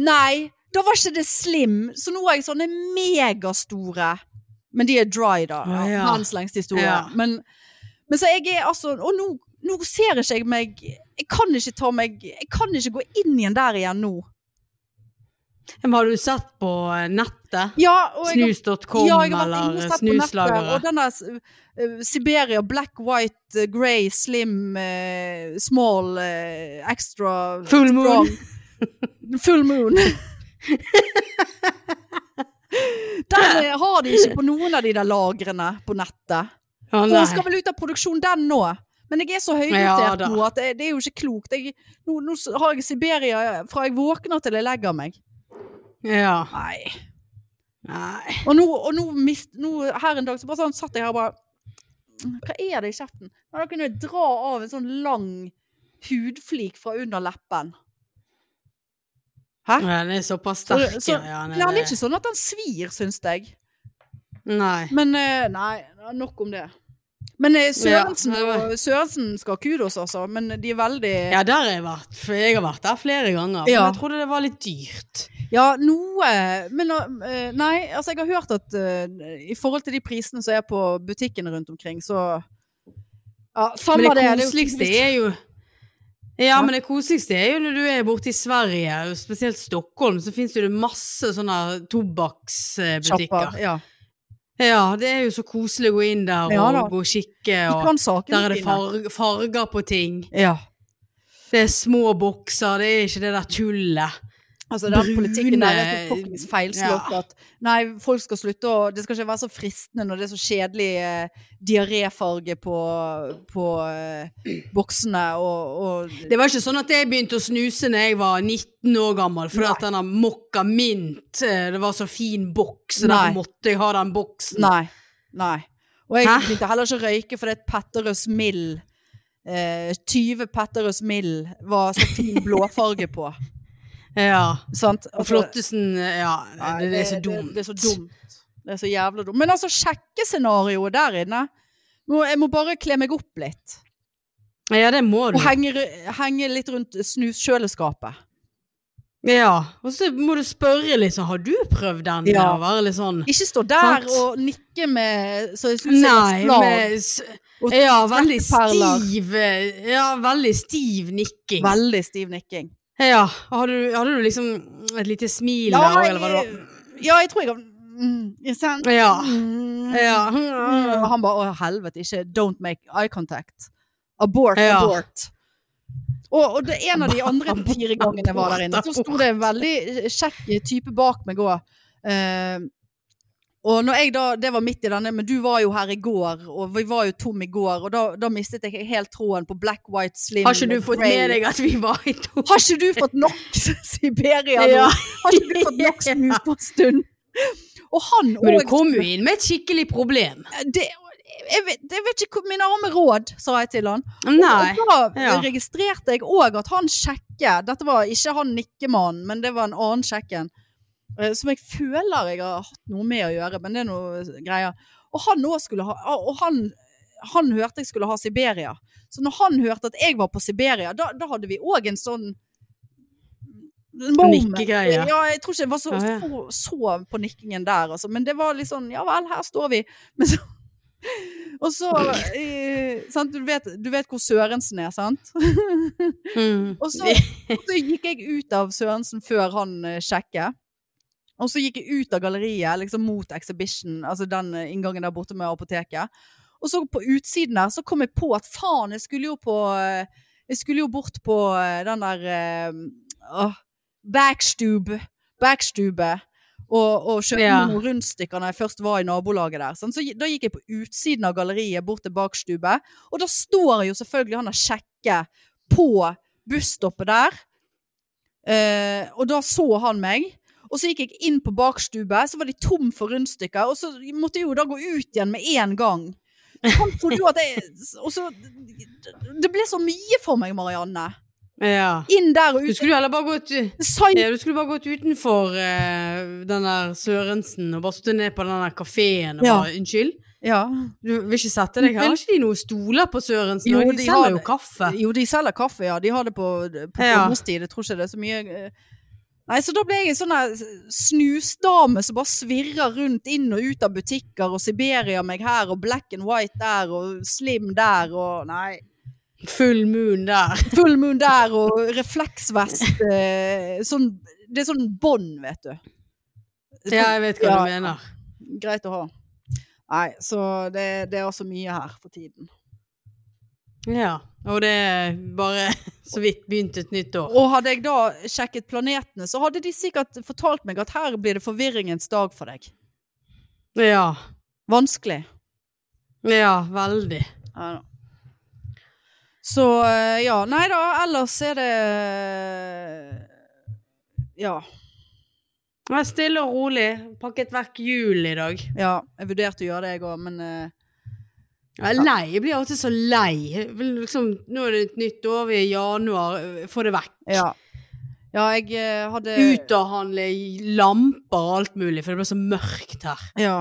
S1: Nei, da var ikke det slim. Så nå har jeg sånne megastore. Men de er dry, da.
S2: Å, ja.
S1: Hans lengste historie.
S2: Ja.
S1: Men, men så jeg er altså Og nå, nå ser ikke jeg meg Jeg kan ikke ta meg Jeg kan ikke gå inn igjen der igjen nå.
S2: Men Har du sett på eh, nettet?
S1: Ja, og jeg har
S2: Snus.com
S1: ja, jeg har vært inne og
S2: eller
S1: sett på nettet, og
S2: snuslagere?
S1: denne eh, Siberia Black, White, eh, Grey, Slim, eh, Small, eh, Extra
S2: Full moon.
S1: strong. Full Moon. den eh, har de ikke på noen av de der lagrene på nettet.
S2: Å,
S1: Og
S2: nei.
S1: den skal vel ut av produksjon, den nå. Men jeg er så
S2: Ja,
S1: høydotert
S2: da.
S1: nå at det, det er jo ikke klokt. Jeg, nå, nå s- har jeg Siberia eh, fra jeg våkner til jeg legger meg.
S2: Ja.
S1: Nei.
S2: Nei.
S1: Og nå, og nå, mist, nå her en dag så bare sånn, satt jeg her og bare «Mm, Hva er det i kjeften? Men da kunne jeg dra av en sånn lang hudflik fra under leppen. Hæ?
S2: Ja, Den er såpass
S1: Så,
S2: sterk.
S1: så,
S2: ja,
S1: nei, han er ikke sånn at han svir, syns jeg.
S2: Nei.
S1: Men eh, nei, nok om det. Men eh, Sørensen,
S2: Ja, det
S1: og- Sørensen skal ha kudos, altså. Men de er veldig Ja,
S2: Ja, der har jeg vært. For jeg har vært der flere ganger. Men
S1: Ja.
S2: jeg trodde det var litt dyrt.
S1: noe Men eh, nei, altså jeg har hørt at eh, i forhold til de prisene som er på butikkene rundt omkring, så ja, samme
S2: Men det
S1: er jo
S2: koseligste
S1: koseligst.
S2: er jo ja, men det koseligste er jo når du er borte i Sverige, og spesielt Stockholm, så fins det jo masse sånne
S1: Sjapper,
S2: tobakksbutikker.
S1: Ja.
S2: Ja, det er jo så koselig å gå inn der
S1: Ja, da.
S2: og gå og kikke,
S1: De
S2: og
S1: kan sakene
S2: der er det
S1: sine.
S2: farg, farger på ting.
S1: Ja.
S2: Det er små bokser, det er ikke det der tullet.
S1: Altså, den politikken der er
S2: Brune-
S1: fuckings feilslått. At nei, folk skal slutte å Det skal ikke være så fristende når det er så kjedelig eh, diaréfarge på, på eh, boksene og, og
S2: Det var ikke sånn at jeg begynte å snuse når jeg var 19 år gammel, fordi at denne mokka mint eh, Det var så fin boks, så
S1: Nei.
S2: derfor måtte jeg ha den boksen.
S1: Nei. Nei. Og jeg
S2: Hæ?
S1: begynte heller ikke å røyke fordi et Petterøes Mill eh, 20 Petterøes Mill var så fin blåfarge på.
S2: Ja.
S1: Sant?
S2: Og
S1: Altså-
S2: flottesen Ja,
S1: Nei,
S2: det, det er så dumt.
S1: Det, det er så dumt. Det er så jævla dumt. Men altså, sjekkescenarioet der inne Nå- Jeg må bare kle meg opp litt.
S2: Ja, det må du.
S1: Og henge, ru- henge litt rundt snuskjøleskapet.
S2: Ja. Og så må du spørre litt sånn Har du prøvd den?
S1: Ja.
S2: Og være litt sånn
S1: Ikke stå der
S2: Sant.
S1: og nikke med så jeg synes
S2: Nei,
S1: jeg er slag.
S2: med s-
S1: og
S2: Ja, veldig
S1: trekkeperler.
S2: stiv eh, Ja, veldig stiv nikking.
S1: Veldig stiv nikking.
S2: Ja. Hadde du, hadde du liksom et lite smil
S1: Ja,
S2: der òg,
S1: jeg-
S2: eller hva det var?
S1: Ja, jeg tror jeg har mm, ikke sant?
S2: Ja. Eh,
S1: Mm. Mm. Og
S2: Ja.
S1: han bare 'Å, helvete, ikke Don't make eye contact'. Abort,
S2: Ja.
S1: abort. Og, og det en av de andre
S2: Abort,
S1: fire gangene jeg var der inne, så sto det en veldig eh, kjekk type bak meg òg. og når jeg da, det var midt i denne, men du var jo her i går, og vi var jo tom i går, og da, da mistet jeg helt troen på black, white, slim
S2: Har ikke du
S1: og
S2: fått med
S1: grey.
S2: deg at vi var i to?
S1: Har ikke du fått nok Siberia nå?
S2: Ja.
S1: Har ikke du fått nok snus på en stund? Og han
S2: Men du
S1: og-
S2: kom jo inn med et skikkelig problem.
S1: Eh, det, jeg, vet, jeg vet ikke hvor mine arme råd, sa jeg til han.
S2: Nei.
S1: Og da
S2: Ja.
S1: registrerte jeg òg at han sjekke Dette var ikke han nikkemannen, men det var en annen sjekken. eh, Som jeg føler jeg har hatt noe med å gjøre, men det er noe greier. Og han òg skulle ha Og han, han hørte jeg skulle ha Siberia. Så når han hørte at jeg var på Siberia, da, da hadde vi òg en sånn moment.
S2: Nikkegreie.
S1: Ja, jeg tror ikke jeg var så,
S2: Ja, ja.
S1: så, så på nikkingen der, altså. Men det var litt sånn Ja vel, her står vi. Men så Og så eh, sant? Du, vet, du vet hvor Sørensen er, sant?
S2: Mm.
S1: Og så, og så gikk jeg ut av Sørensen før han eh, sjekket. Og så gikk jeg ut av galleriet, liksom mot Exhibition, altså den eh, inngangen der borte med apoteket. Og så på utsiden der, så kom jeg på at faen, jeg skulle jo på eh, Jeg skulle jo bort på eh, den der eh, åh, Backstube. Backstube. Og, og kjøpte
S2: Ja.
S1: noen rundstykker når jeg først var i nabolaget der. sant? Så gi- da gikk jeg på utsiden av galleriet, bort til bakstube. Og da står jo selvfølgelig han og sjekker på busstoppet der. Eh, og da så han meg. Og så gikk jeg inn på bakstube, så var de tom for rundstykker. Og så måtte jeg jo da gå ut igjen med en gang. Han trodde jo at jeg Og så Det ble så mye for meg, Marianne.
S2: Ja.
S1: Inn der og
S2: Du
S1: ut.
S2: skulle jo heller bare gått
S1: Psy-
S2: Ja, du skulle bare gått utenfor eh, den der Sørensen og bare stått ned på den der kafeen og
S1: Ja.
S2: bare Unnskyld?
S1: Ja.
S2: Du vil ikke sette deg her? Har ikke de noen stoler på Sørensen?
S1: Jo,
S2: og
S1: de
S2: de
S1: har
S2: selger jo
S1: det.
S2: kaffe.
S1: Jo, de selger kaffe, ja. De har det på, på
S2: Ja.
S1: ungdomstid. Jeg tror ikke det er så mye eh. Nei, så da ble jeg en sånn der snusdame som bare svirrer rundt inn og ut av butikker, og Siberia meg her, og black and white der, og slim der, og nei.
S2: Full moon der.
S1: Full moon der, og refleksvest. eh, Sånn, det er sånn bånd, vet du. Sånn-
S2: Ja, jeg vet hva
S1: Ja.
S2: du mener.
S1: Greit å ha. Nei, så det, det er også mye her for tiden.
S2: Ja. Og det er bare så vidt begynt et nytt år.
S1: Og hadde jeg da sjekket planetene, så hadde de sikkert fortalt meg at her blir det forvirringens dag for deg.
S2: Ja.
S1: Vanskelig.
S2: Ja, veldig.
S1: Ja da. Så eh, ja, nei da, ellers er det Ja.
S2: Men stille og rolig. Pakket vekk jul i dag.
S1: ja jeg vurderte å gjøre det, jeg òg, men eh,
S2: Jeg er lei. Jeg blir alltid så lei. Jeg vil Liksom, nå er det et nytt år, vi er i januar. Få det vekk.
S1: ja. Ja, jeg eh, hadde
S2: Ut og handle lamper og alt mulig, for det ble så mørkt her.
S1: Ja.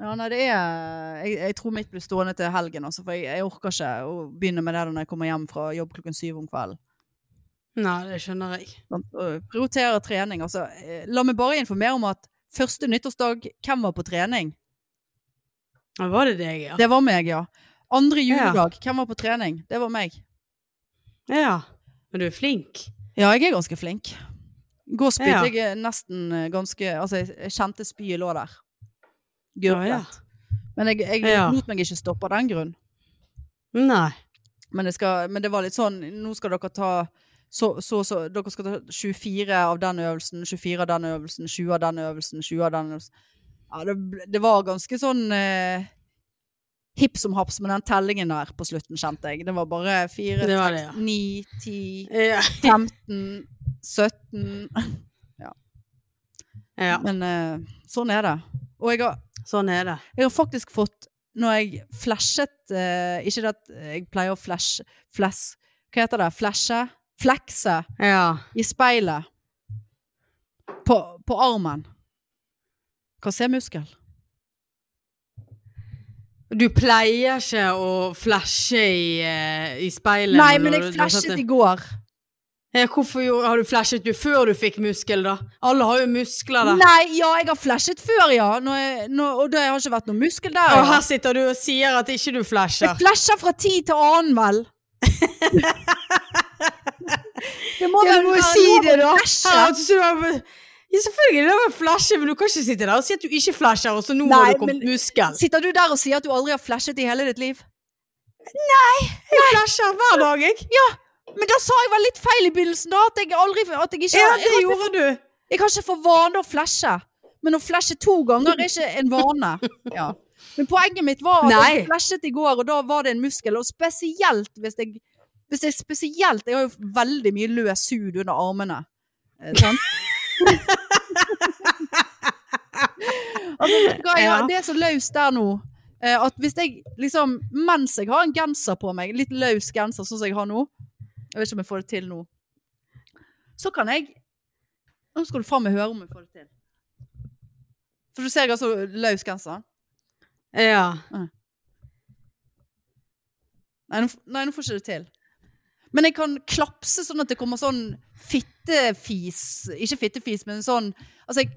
S1: ja nei, det er jeg, jeg tror mitt blir stående til helgen, altså, for jeg, jeg orker ikke å begynne med det når jeg kommer hjem fra jobb klokken syv om kvelden.
S2: Nei, det skjønner jeg.
S1: Sant? Og Prioritere trening. Altså, eh, la meg bare informere om at første nyttårsdag, hvem var på trening?
S2: Ja, var det deg, ja?
S1: Det var meg, ja. Andre
S2: Ja.
S1: juledag, hvem var på trening? Det var meg.
S2: Ja. Men du er flink.
S1: Ja, jeg er ganske flink. Gå spydde
S2: Ja.
S1: jeg er nesten eh, ganske Altså, jeg, jeg kjente spyet lå der.
S2: Ja, ja.
S1: Gurglet. Men jeg, jeg
S2: Ja.
S1: lot meg ikke stoppe av den grunn.
S2: Nei.
S1: Men, jeg skal, men det var litt sånn Nå skal dere ta så, så, så Dere skal ta 24 av den øvelsen, 24 av den øvelsen, 20 av den øvelsen, 20 av den øvelsen. Ja, det, ble- det var ganske sånn eh, hipp som haps med den tellingen der på slutten, kjente jeg. Det var bare 4,
S2: Det var det, ja.
S1: 9, 10,
S2: Ja.
S1: 15, 17
S2: ja.
S1: Men eh, sånn er det. Og jeg har
S2: Sånn er det.
S1: Jeg har faktisk fått, når jeg flashet eh, Ikke det at jeg pleier å flash, flash Hva heter det? Flashe? Flekse
S2: Ja.
S1: i speilet. På, på armen. Korsemuskel.
S2: Du pleier ikke å flashe i, eh, i speilet?
S1: Nei,
S2: når
S1: men
S2: du-
S1: jeg
S2: du har satt
S1: flashet
S2: det-
S1: i går.
S2: Ja, Hvorfor gjorde, har du flashet du før du fikk muskel, da? Alle har jo muskler, da.
S1: Nei, ja, jeg har flashet før, ja. Når jeg, når, og det har ikke vært noen muskel der.
S2: Og
S1: Ja.
S2: her sitter du og sier at ikke du flasher.
S1: Jeg flasher fra tid til annen, vel. det må
S2: Ja,
S1: vel
S2: du må
S1: være
S2: si
S1: lov å
S2: det, da.
S1: flashe.
S2: Ja, altså, du har- ja, selvfølgelig det var flashe, men du kan ikke sitte der og si at du ikke flasher, og så nå
S1: Nei,
S2: har du kommet
S1: men-
S2: muskel.
S1: Sitter du der og sier at du aldri har flashet i hele ditt liv?
S2: Jeg flasher hver dag, jeg.
S1: Men da sa jeg vel litt feil i begynnelsen, da. At jeg aldri at jeg ikke,
S2: Ja,
S1: jeg,
S2: det
S1: har,
S2: gjorde du.
S1: ikke- jeg har ikke for vane å flashe. Men å flashe to ganger er ikke en vane. Ja. Men poenget mitt var at
S2: Nei.
S1: jeg flashet i går, og da var det en muskel. Og spesielt hvis jeg hvis jeg spesielt, jeg har jo veldig mye løs hud under armene. Eh, sant? altså, vet du hva, jeg har-
S2: Ja.
S1: det er så løst der nå. eh, At hvis jeg liksom, mens jeg har en genser på meg, litt løs genser sånn som jeg har nå Jeg vet ikke om jeg får det til nå. Så kan jeg Nå skal du faen meg høre om jeg får det til. For du ser jeg har så løs genser.
S2: Ja.
S1: Nei, nå f- nei, nå får ikke det til. Men jeg kan klapse sånn at det kommer sånn fittefis Ikke fittefis, men sånn Altså, jeg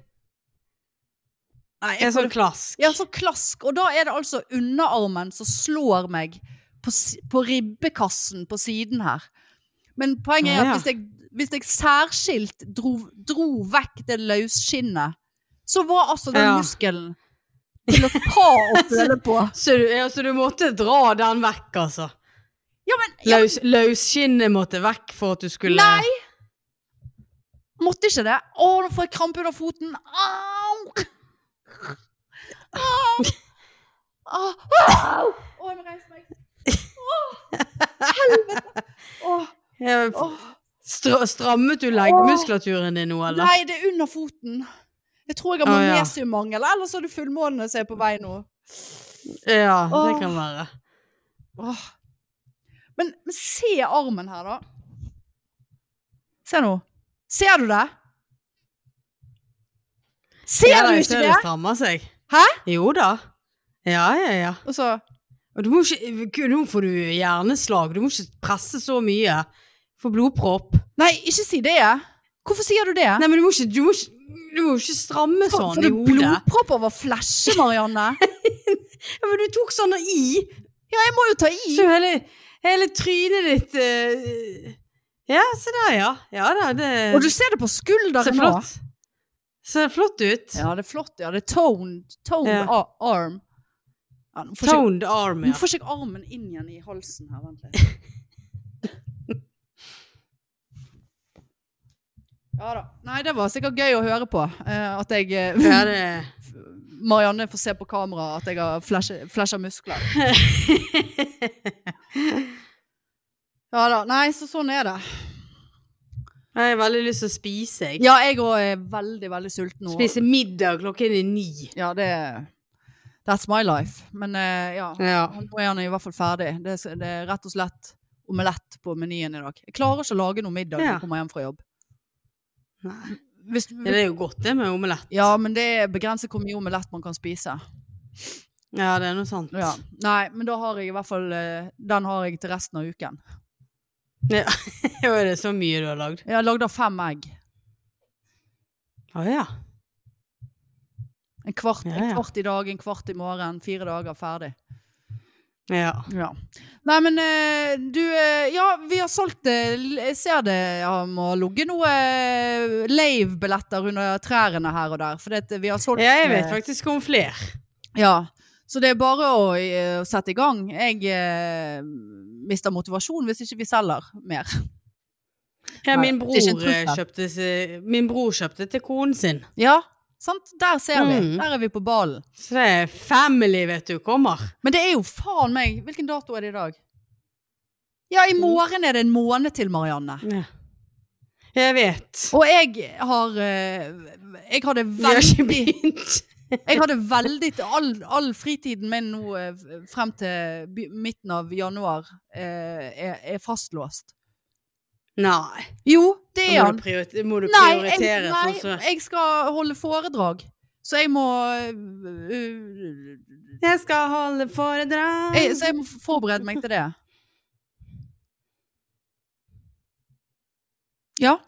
S1: Nei, jeg
S2: En sånn klask.
S1: Ja, sånn klask. Og da er det altså underarmen som slår meg på, si- på ribbekassen på siden her. Men poenget er
S2: Ja.
S1: at hvis jeg, hvis jeg særskilt dro, dro vekk det løsskinnet, så var altså den
S2: Ja.
S1: muskelen til å ta og føle på.
S2: Så du, ja, så du måtte dra den vekk, altså?
S1: Ja, men
S2: Løs, løsskinnet måtte vekk for at du skulle
S1: Nei! Måtte ikke det. Å, nå får jeg krampe under foten. Au! Au! Au! Au! Å, jeg må reise meg. Å, helvete.
S2: Ja,
S1: Å, å.
S2: stra, Strammet du leggmuskulaturen din nå, eller?
S1: Nei, det er under foten. Jeg tror jeg har
S2: Å, ja.
S1: magnesiummangel, ellers er det fullmåne som er på vei nå.
S2: Ja, det
S1: Åh.
S2: kan være.
S1: Åh. Men, men se armen her, da. Se nå. Ser du det? Ser
S2: Ja, da,
S1: du
S2: jeg
S1: ikke
S2: ser
S1: det?
S2: strammer seg.
S1: Hæ?
S2: Jo da. Ja, ja, ja.
S1: Og så
S2: Og du må ikke, Gud, nå får du hjerneslag. Du må ikke presse så mye. Får blodpropp.
S1: Nei, ikke si det. Hvorfor sier du det?
S2: Nei, men du må ikke, du må ikke, du må ikke stramme
S1: For-
S2: sånn i
S1: for du
S2: hodet.
S1: blodpropp over flasje, Marianne.
S2: Ja, men du tok sånn i.
S1: Ja, jeg må jo ta i.
S2: Så hele, hele trynet ditt eh, Ja, se der, ja. Ja da, det
S1: Og du ser det på
S2: ser
S1: skulderen nå.
S2: flott. Ser flott ut.
S1: Ja, det er flott. Ja, det er toned, toned
S2: Ja.
S1: a- arm. Ja, nå får ikke-
S2: Toned arm,
S1: nå
S2: ja.
S1: får ikke jeg armen inn igjen i halsen her, vent litt. Ja da. Nei, det var sikkert gøy å høre på. eh, at jeg eh,
S2: Ja, det
S1: Marianne får se på kamera at jeg har flashe- flasha muskler. ja da. Nei, så sånn er det.
S2: Jeg har veldig lyst til å spise, jeg.
S1: Ja, jeg òg er veldig, veldig sulten nå.
S2: Spise middag klokken er ni.
S1: Ja, det er That's my life. Men eh, ja.
S2: Ja.
S1: Nå er han i hvert fall ferdig. Det er, det er rett og slett omelett på menyen i dag. Jeg klarer ikke å lage noe middag når
S2: Ja.
S1: jeg kommer hjem fra jobb.
S2: Nei.
S1: Hvis,
S2: Ja, det er jo godt, det med omelett.
S1: ja, men det er begrenset hvor mye omelett man kan spise.
S2: Ja, det er noe sant.
S1: Ja. Nei, men da har jeg i hvert fall eh, Den har jeg til resten av uken.
S2: Ja, er det så mye du har lagd?
S1: Jeg har lagd av fem egg.
S2: Å ja.
S1: En kvart,
S2: Ja,
S1: en
S2: ja.
S1: kvart i dag, en kvart i morgen. Fire dager ferdig.
S2: ja.
S1: Ja. Nei, men eh, du eh, Ja, vi har solgt det. L- Jeg ser det har må ligge noen lave-billetter eh, under trærne her og der. For det, at vi har solgt
S2: Ja, jeg
S1: eh,
S2: vet faktisk om flere.
S1: Ja, så det er bare å eh, sette i gang. Jeg eh, mister motivasjon hvis ikke vi selger mer.
S2: Ja,
S1: Nei,
S2: min bror,
S1: det er ikke en
S2: eh,
S1: trussel.
S2: kjøpte, seg- min bror kjøpte til konen sin.
S1: Ja, sant? Der ser vi.
S2: Mm.
S1: Der er vi på ballen.
S2: Så det er family, vet du, kommer.
S1: Men det er jo faen meg Hvilken dato er det i dag? Ja, i morgen er det en måned til, Marianne.
S2: Ja. Jeg vet.
S1: Og jeg har eh, Jeg hadde
S2: Vi har ikke
S1: veldig
S2: begynt.
S1: Jeg hadde veldig All, all fritiden min nå eh, f- frem til by- midten av januar eh, er, er fastlåst.
S2: Nei.
S1: Jo, det
S2: Da
S1: er
S2: må
S1: han.
S2: du prioritere, må du
S1: Nei, jeg,
S2: prioritere
S1: nei
S2: sånn som
S1: jeg skal holde foredrag. Så jeg må eh,
S2: Jeg skal holde foredrag.
S1: jeg, eh, Så jeg må forberede meg til det. Ja.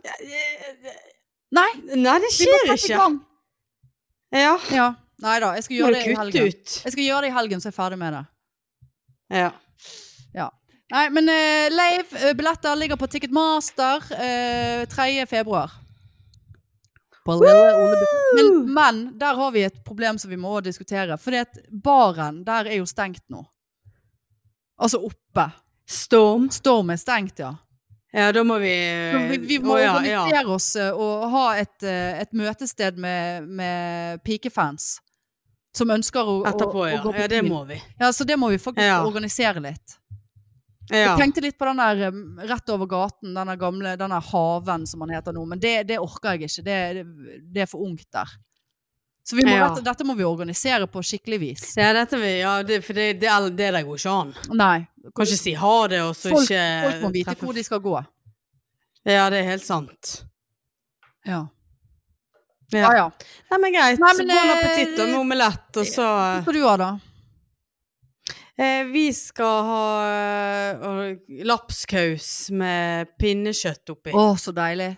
S1: Nei,
S2: Nei, det
S1: vi må
S2: skjer
S1: sette i
S2: ikke.
S1: gang.
S2: Ja.
S1: Ja. Nei da, jeg skal
S2: Må
S1: gjøre
S2: du
S1: det i
S2: kutte
S1: helgen.
S2: ut?
S1: Jeg skal gjøre det i helgen, så er jeg ferdig med det.
S2: Ja.
S1: Nei, men eh, Leif, eh, billetter ligger på Ticketmaster eh, 3. februar. På Lille Oleby. Men, men der har vi et problem som vi må diskutere. For at baren der er jo stengt nå. Altså oppe.
S2: Storm.
S1: Storm er stengt, ja.
S2: Ja, da må vi
S1: Så Vi, vi må
S2: Å, ja, ja.
S1: organisere oss eh, og ha et, eh, et møtested med, med pikefans. Som ønsker å, å,
S2: Etterpå,
S1: å
S2: ja.
S1: gå på
S2: Ja, det
S1: byen.
S2: må vi.
S1: Ja, så det må vi faktisk
S2: Ja.
S1: organisere litt.
S2: Ja.
S1: Jeg tenkte litt på den der um, rett over gaten, denne gamle, denne haven som han heter nå, men det, det orker jeg ikke. Det, det, det er for ungt der. Så vi må,
S2: Ja.
S1: rett- dette må vi organisere på skikkelig vis.
S2: Ja, dette vi, ja det, for det, det, er- det der går ikke an.
S1: Nei.
S2: Kan ikke si ha det, og så
S1: Folk,
S2: ikke
S1: folk må vite
S2: treffe-
S1: hvor de skal gå.
S2: Ja, det er helt sant.
S1: Ja.
S2: Ja.
S1: Ja, ja.
S2: Nei, men greit.
S1: Nei, men,
S2: Bon
S1: eh,
S2: appetitt og med omelett, og så
S1: Hva skal du ha, da?
S2: eh, Vi skal ha eh, lapskaus med pinnekjøtt oppi.
S1: Å, så deilig.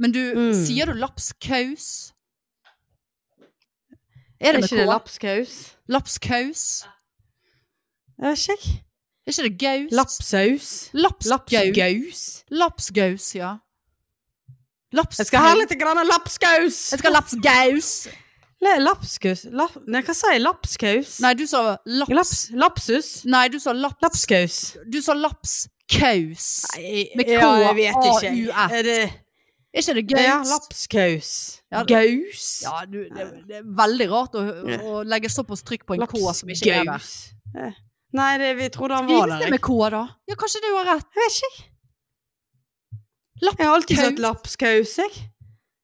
S1: Men du,
S2: Mm.
S1: sier du lapskaus? Er
S2: er
S1: det
S2: det ikke det
S1: ikke
S2: lapskaus?
S1: lapskaus?
S2: Jeg vet ikke. jeg.
S1: Er ikke det gaus?
S2: Lapsaus?
S1: Lapsgaus.
S2: Lapsgaus?
S1: Lapsgaus, ja. Lapskaus.
S2: Jeg skal ha litt grann av lapskaus!
S1: Jeg skal ha lapsgaus.
S2: Le- Lapskaus lap, Nei, hva sa jeg? Lapskaus?
S1: Nei, du sa laps...
S2: Laps, lapsus?
S1: Nei, du sa laps...
S2: Lapskaus?
S1: Du sa lapskaus. Med
S2: ja, jeg vet ikke.
S1: K-A-U-S.
S2: Er det
S1: Er ikke det gaus?
S2: Ja, lapskaus.
S1: Ja, det-
S2: Gaus?
S1: Ja, du, det, det er veldig rart å, å legge såpass trykk på en K som ikke er der.
S2: Eh, Nei, det, vi trodde han var
S1: Skrives
S2: der.
S1: det
S2: Jeg,
S1: med K, da? Ja, kanskje du har rett.
S2: jeg vet ikke. Jeg har alltid sagt lapskaus, jeg.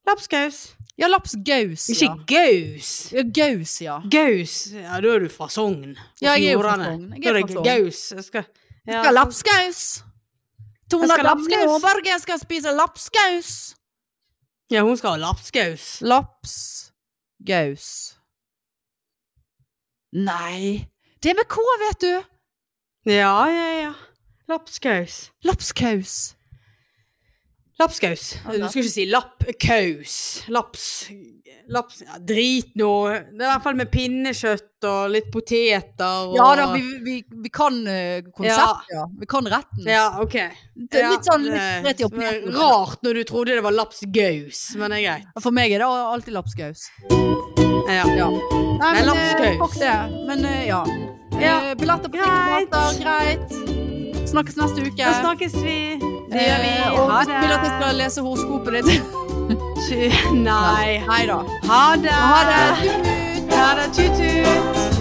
S2: Lapskaus.
S1: Ja, lapsgaus.
S2: Ikke
S1: Ja.
S2: gaus.
S1: ja, gaus, ja.
S2: Gaus. Ja, da er du fra Sogn.
S1: Ja, jeg er jo fra
S2: Nordane.
S1: Sogn. Jeg
S2: Da
S1: er
S2: er
S1: fra
S2: det
S1: Sogn.
S2: gaus. Jeg skal ja.
S1: Jeg skal ha lapskaus. Tone
S2: skal ha
S1: Damli
S2: lapskaus.
S1: Aaberge skal spise lapskaus.
S2: ja, hun skal ha lapskaus.
S1: Lapsgaus. Nei. Det er med K, vet du.
S2: Ja, ja, ja. Lapskaus.
S1: Lapskaus.
S2: Lapskaus.
S1: Ja,
S2: Du
S1: lapp.
S2: skal ikke si lappkaus. Laps... Laps... Ja, drit nå. Det er i hvert fall med pinnekjøtt og litt poteter og
S1: Ja da, vi, vi, vi kan eh, konseptet, ja. Vi kan retten.
S2: Ja, ok.
S1: Det er litt sånn
S2: Ja,
S1: litt rett
S2: det
S1: i
S2: var
S1: opinionen.
S2: Rart når du trodde det var lapskaus, men det er greit.
S1: For meg er det alltid lapskaus.
S2: Ja.
S1: Ja. Nei,
S2: Nei,
S1: men eh,
S2: lapskaus.
S1: fuck det. Men eh, ja.
S2: Ja.
S1: Eh, Billetter på
S2: Greit.
S1: Ticketmaster, greit. Snakkes neste uke.
S2: Da snakkes vi. Det gjør vi.
S1: Eh, Og
S2: Ha
S1: hvis du vil at jeg
S2: det.
S1: skal lese horoskopet ditt
S2: Ty- Nei.
S1: Nei da.
S2: Ha det.
S1: Ha det. Tut, tut.
S2: Ha det. Tut-tut.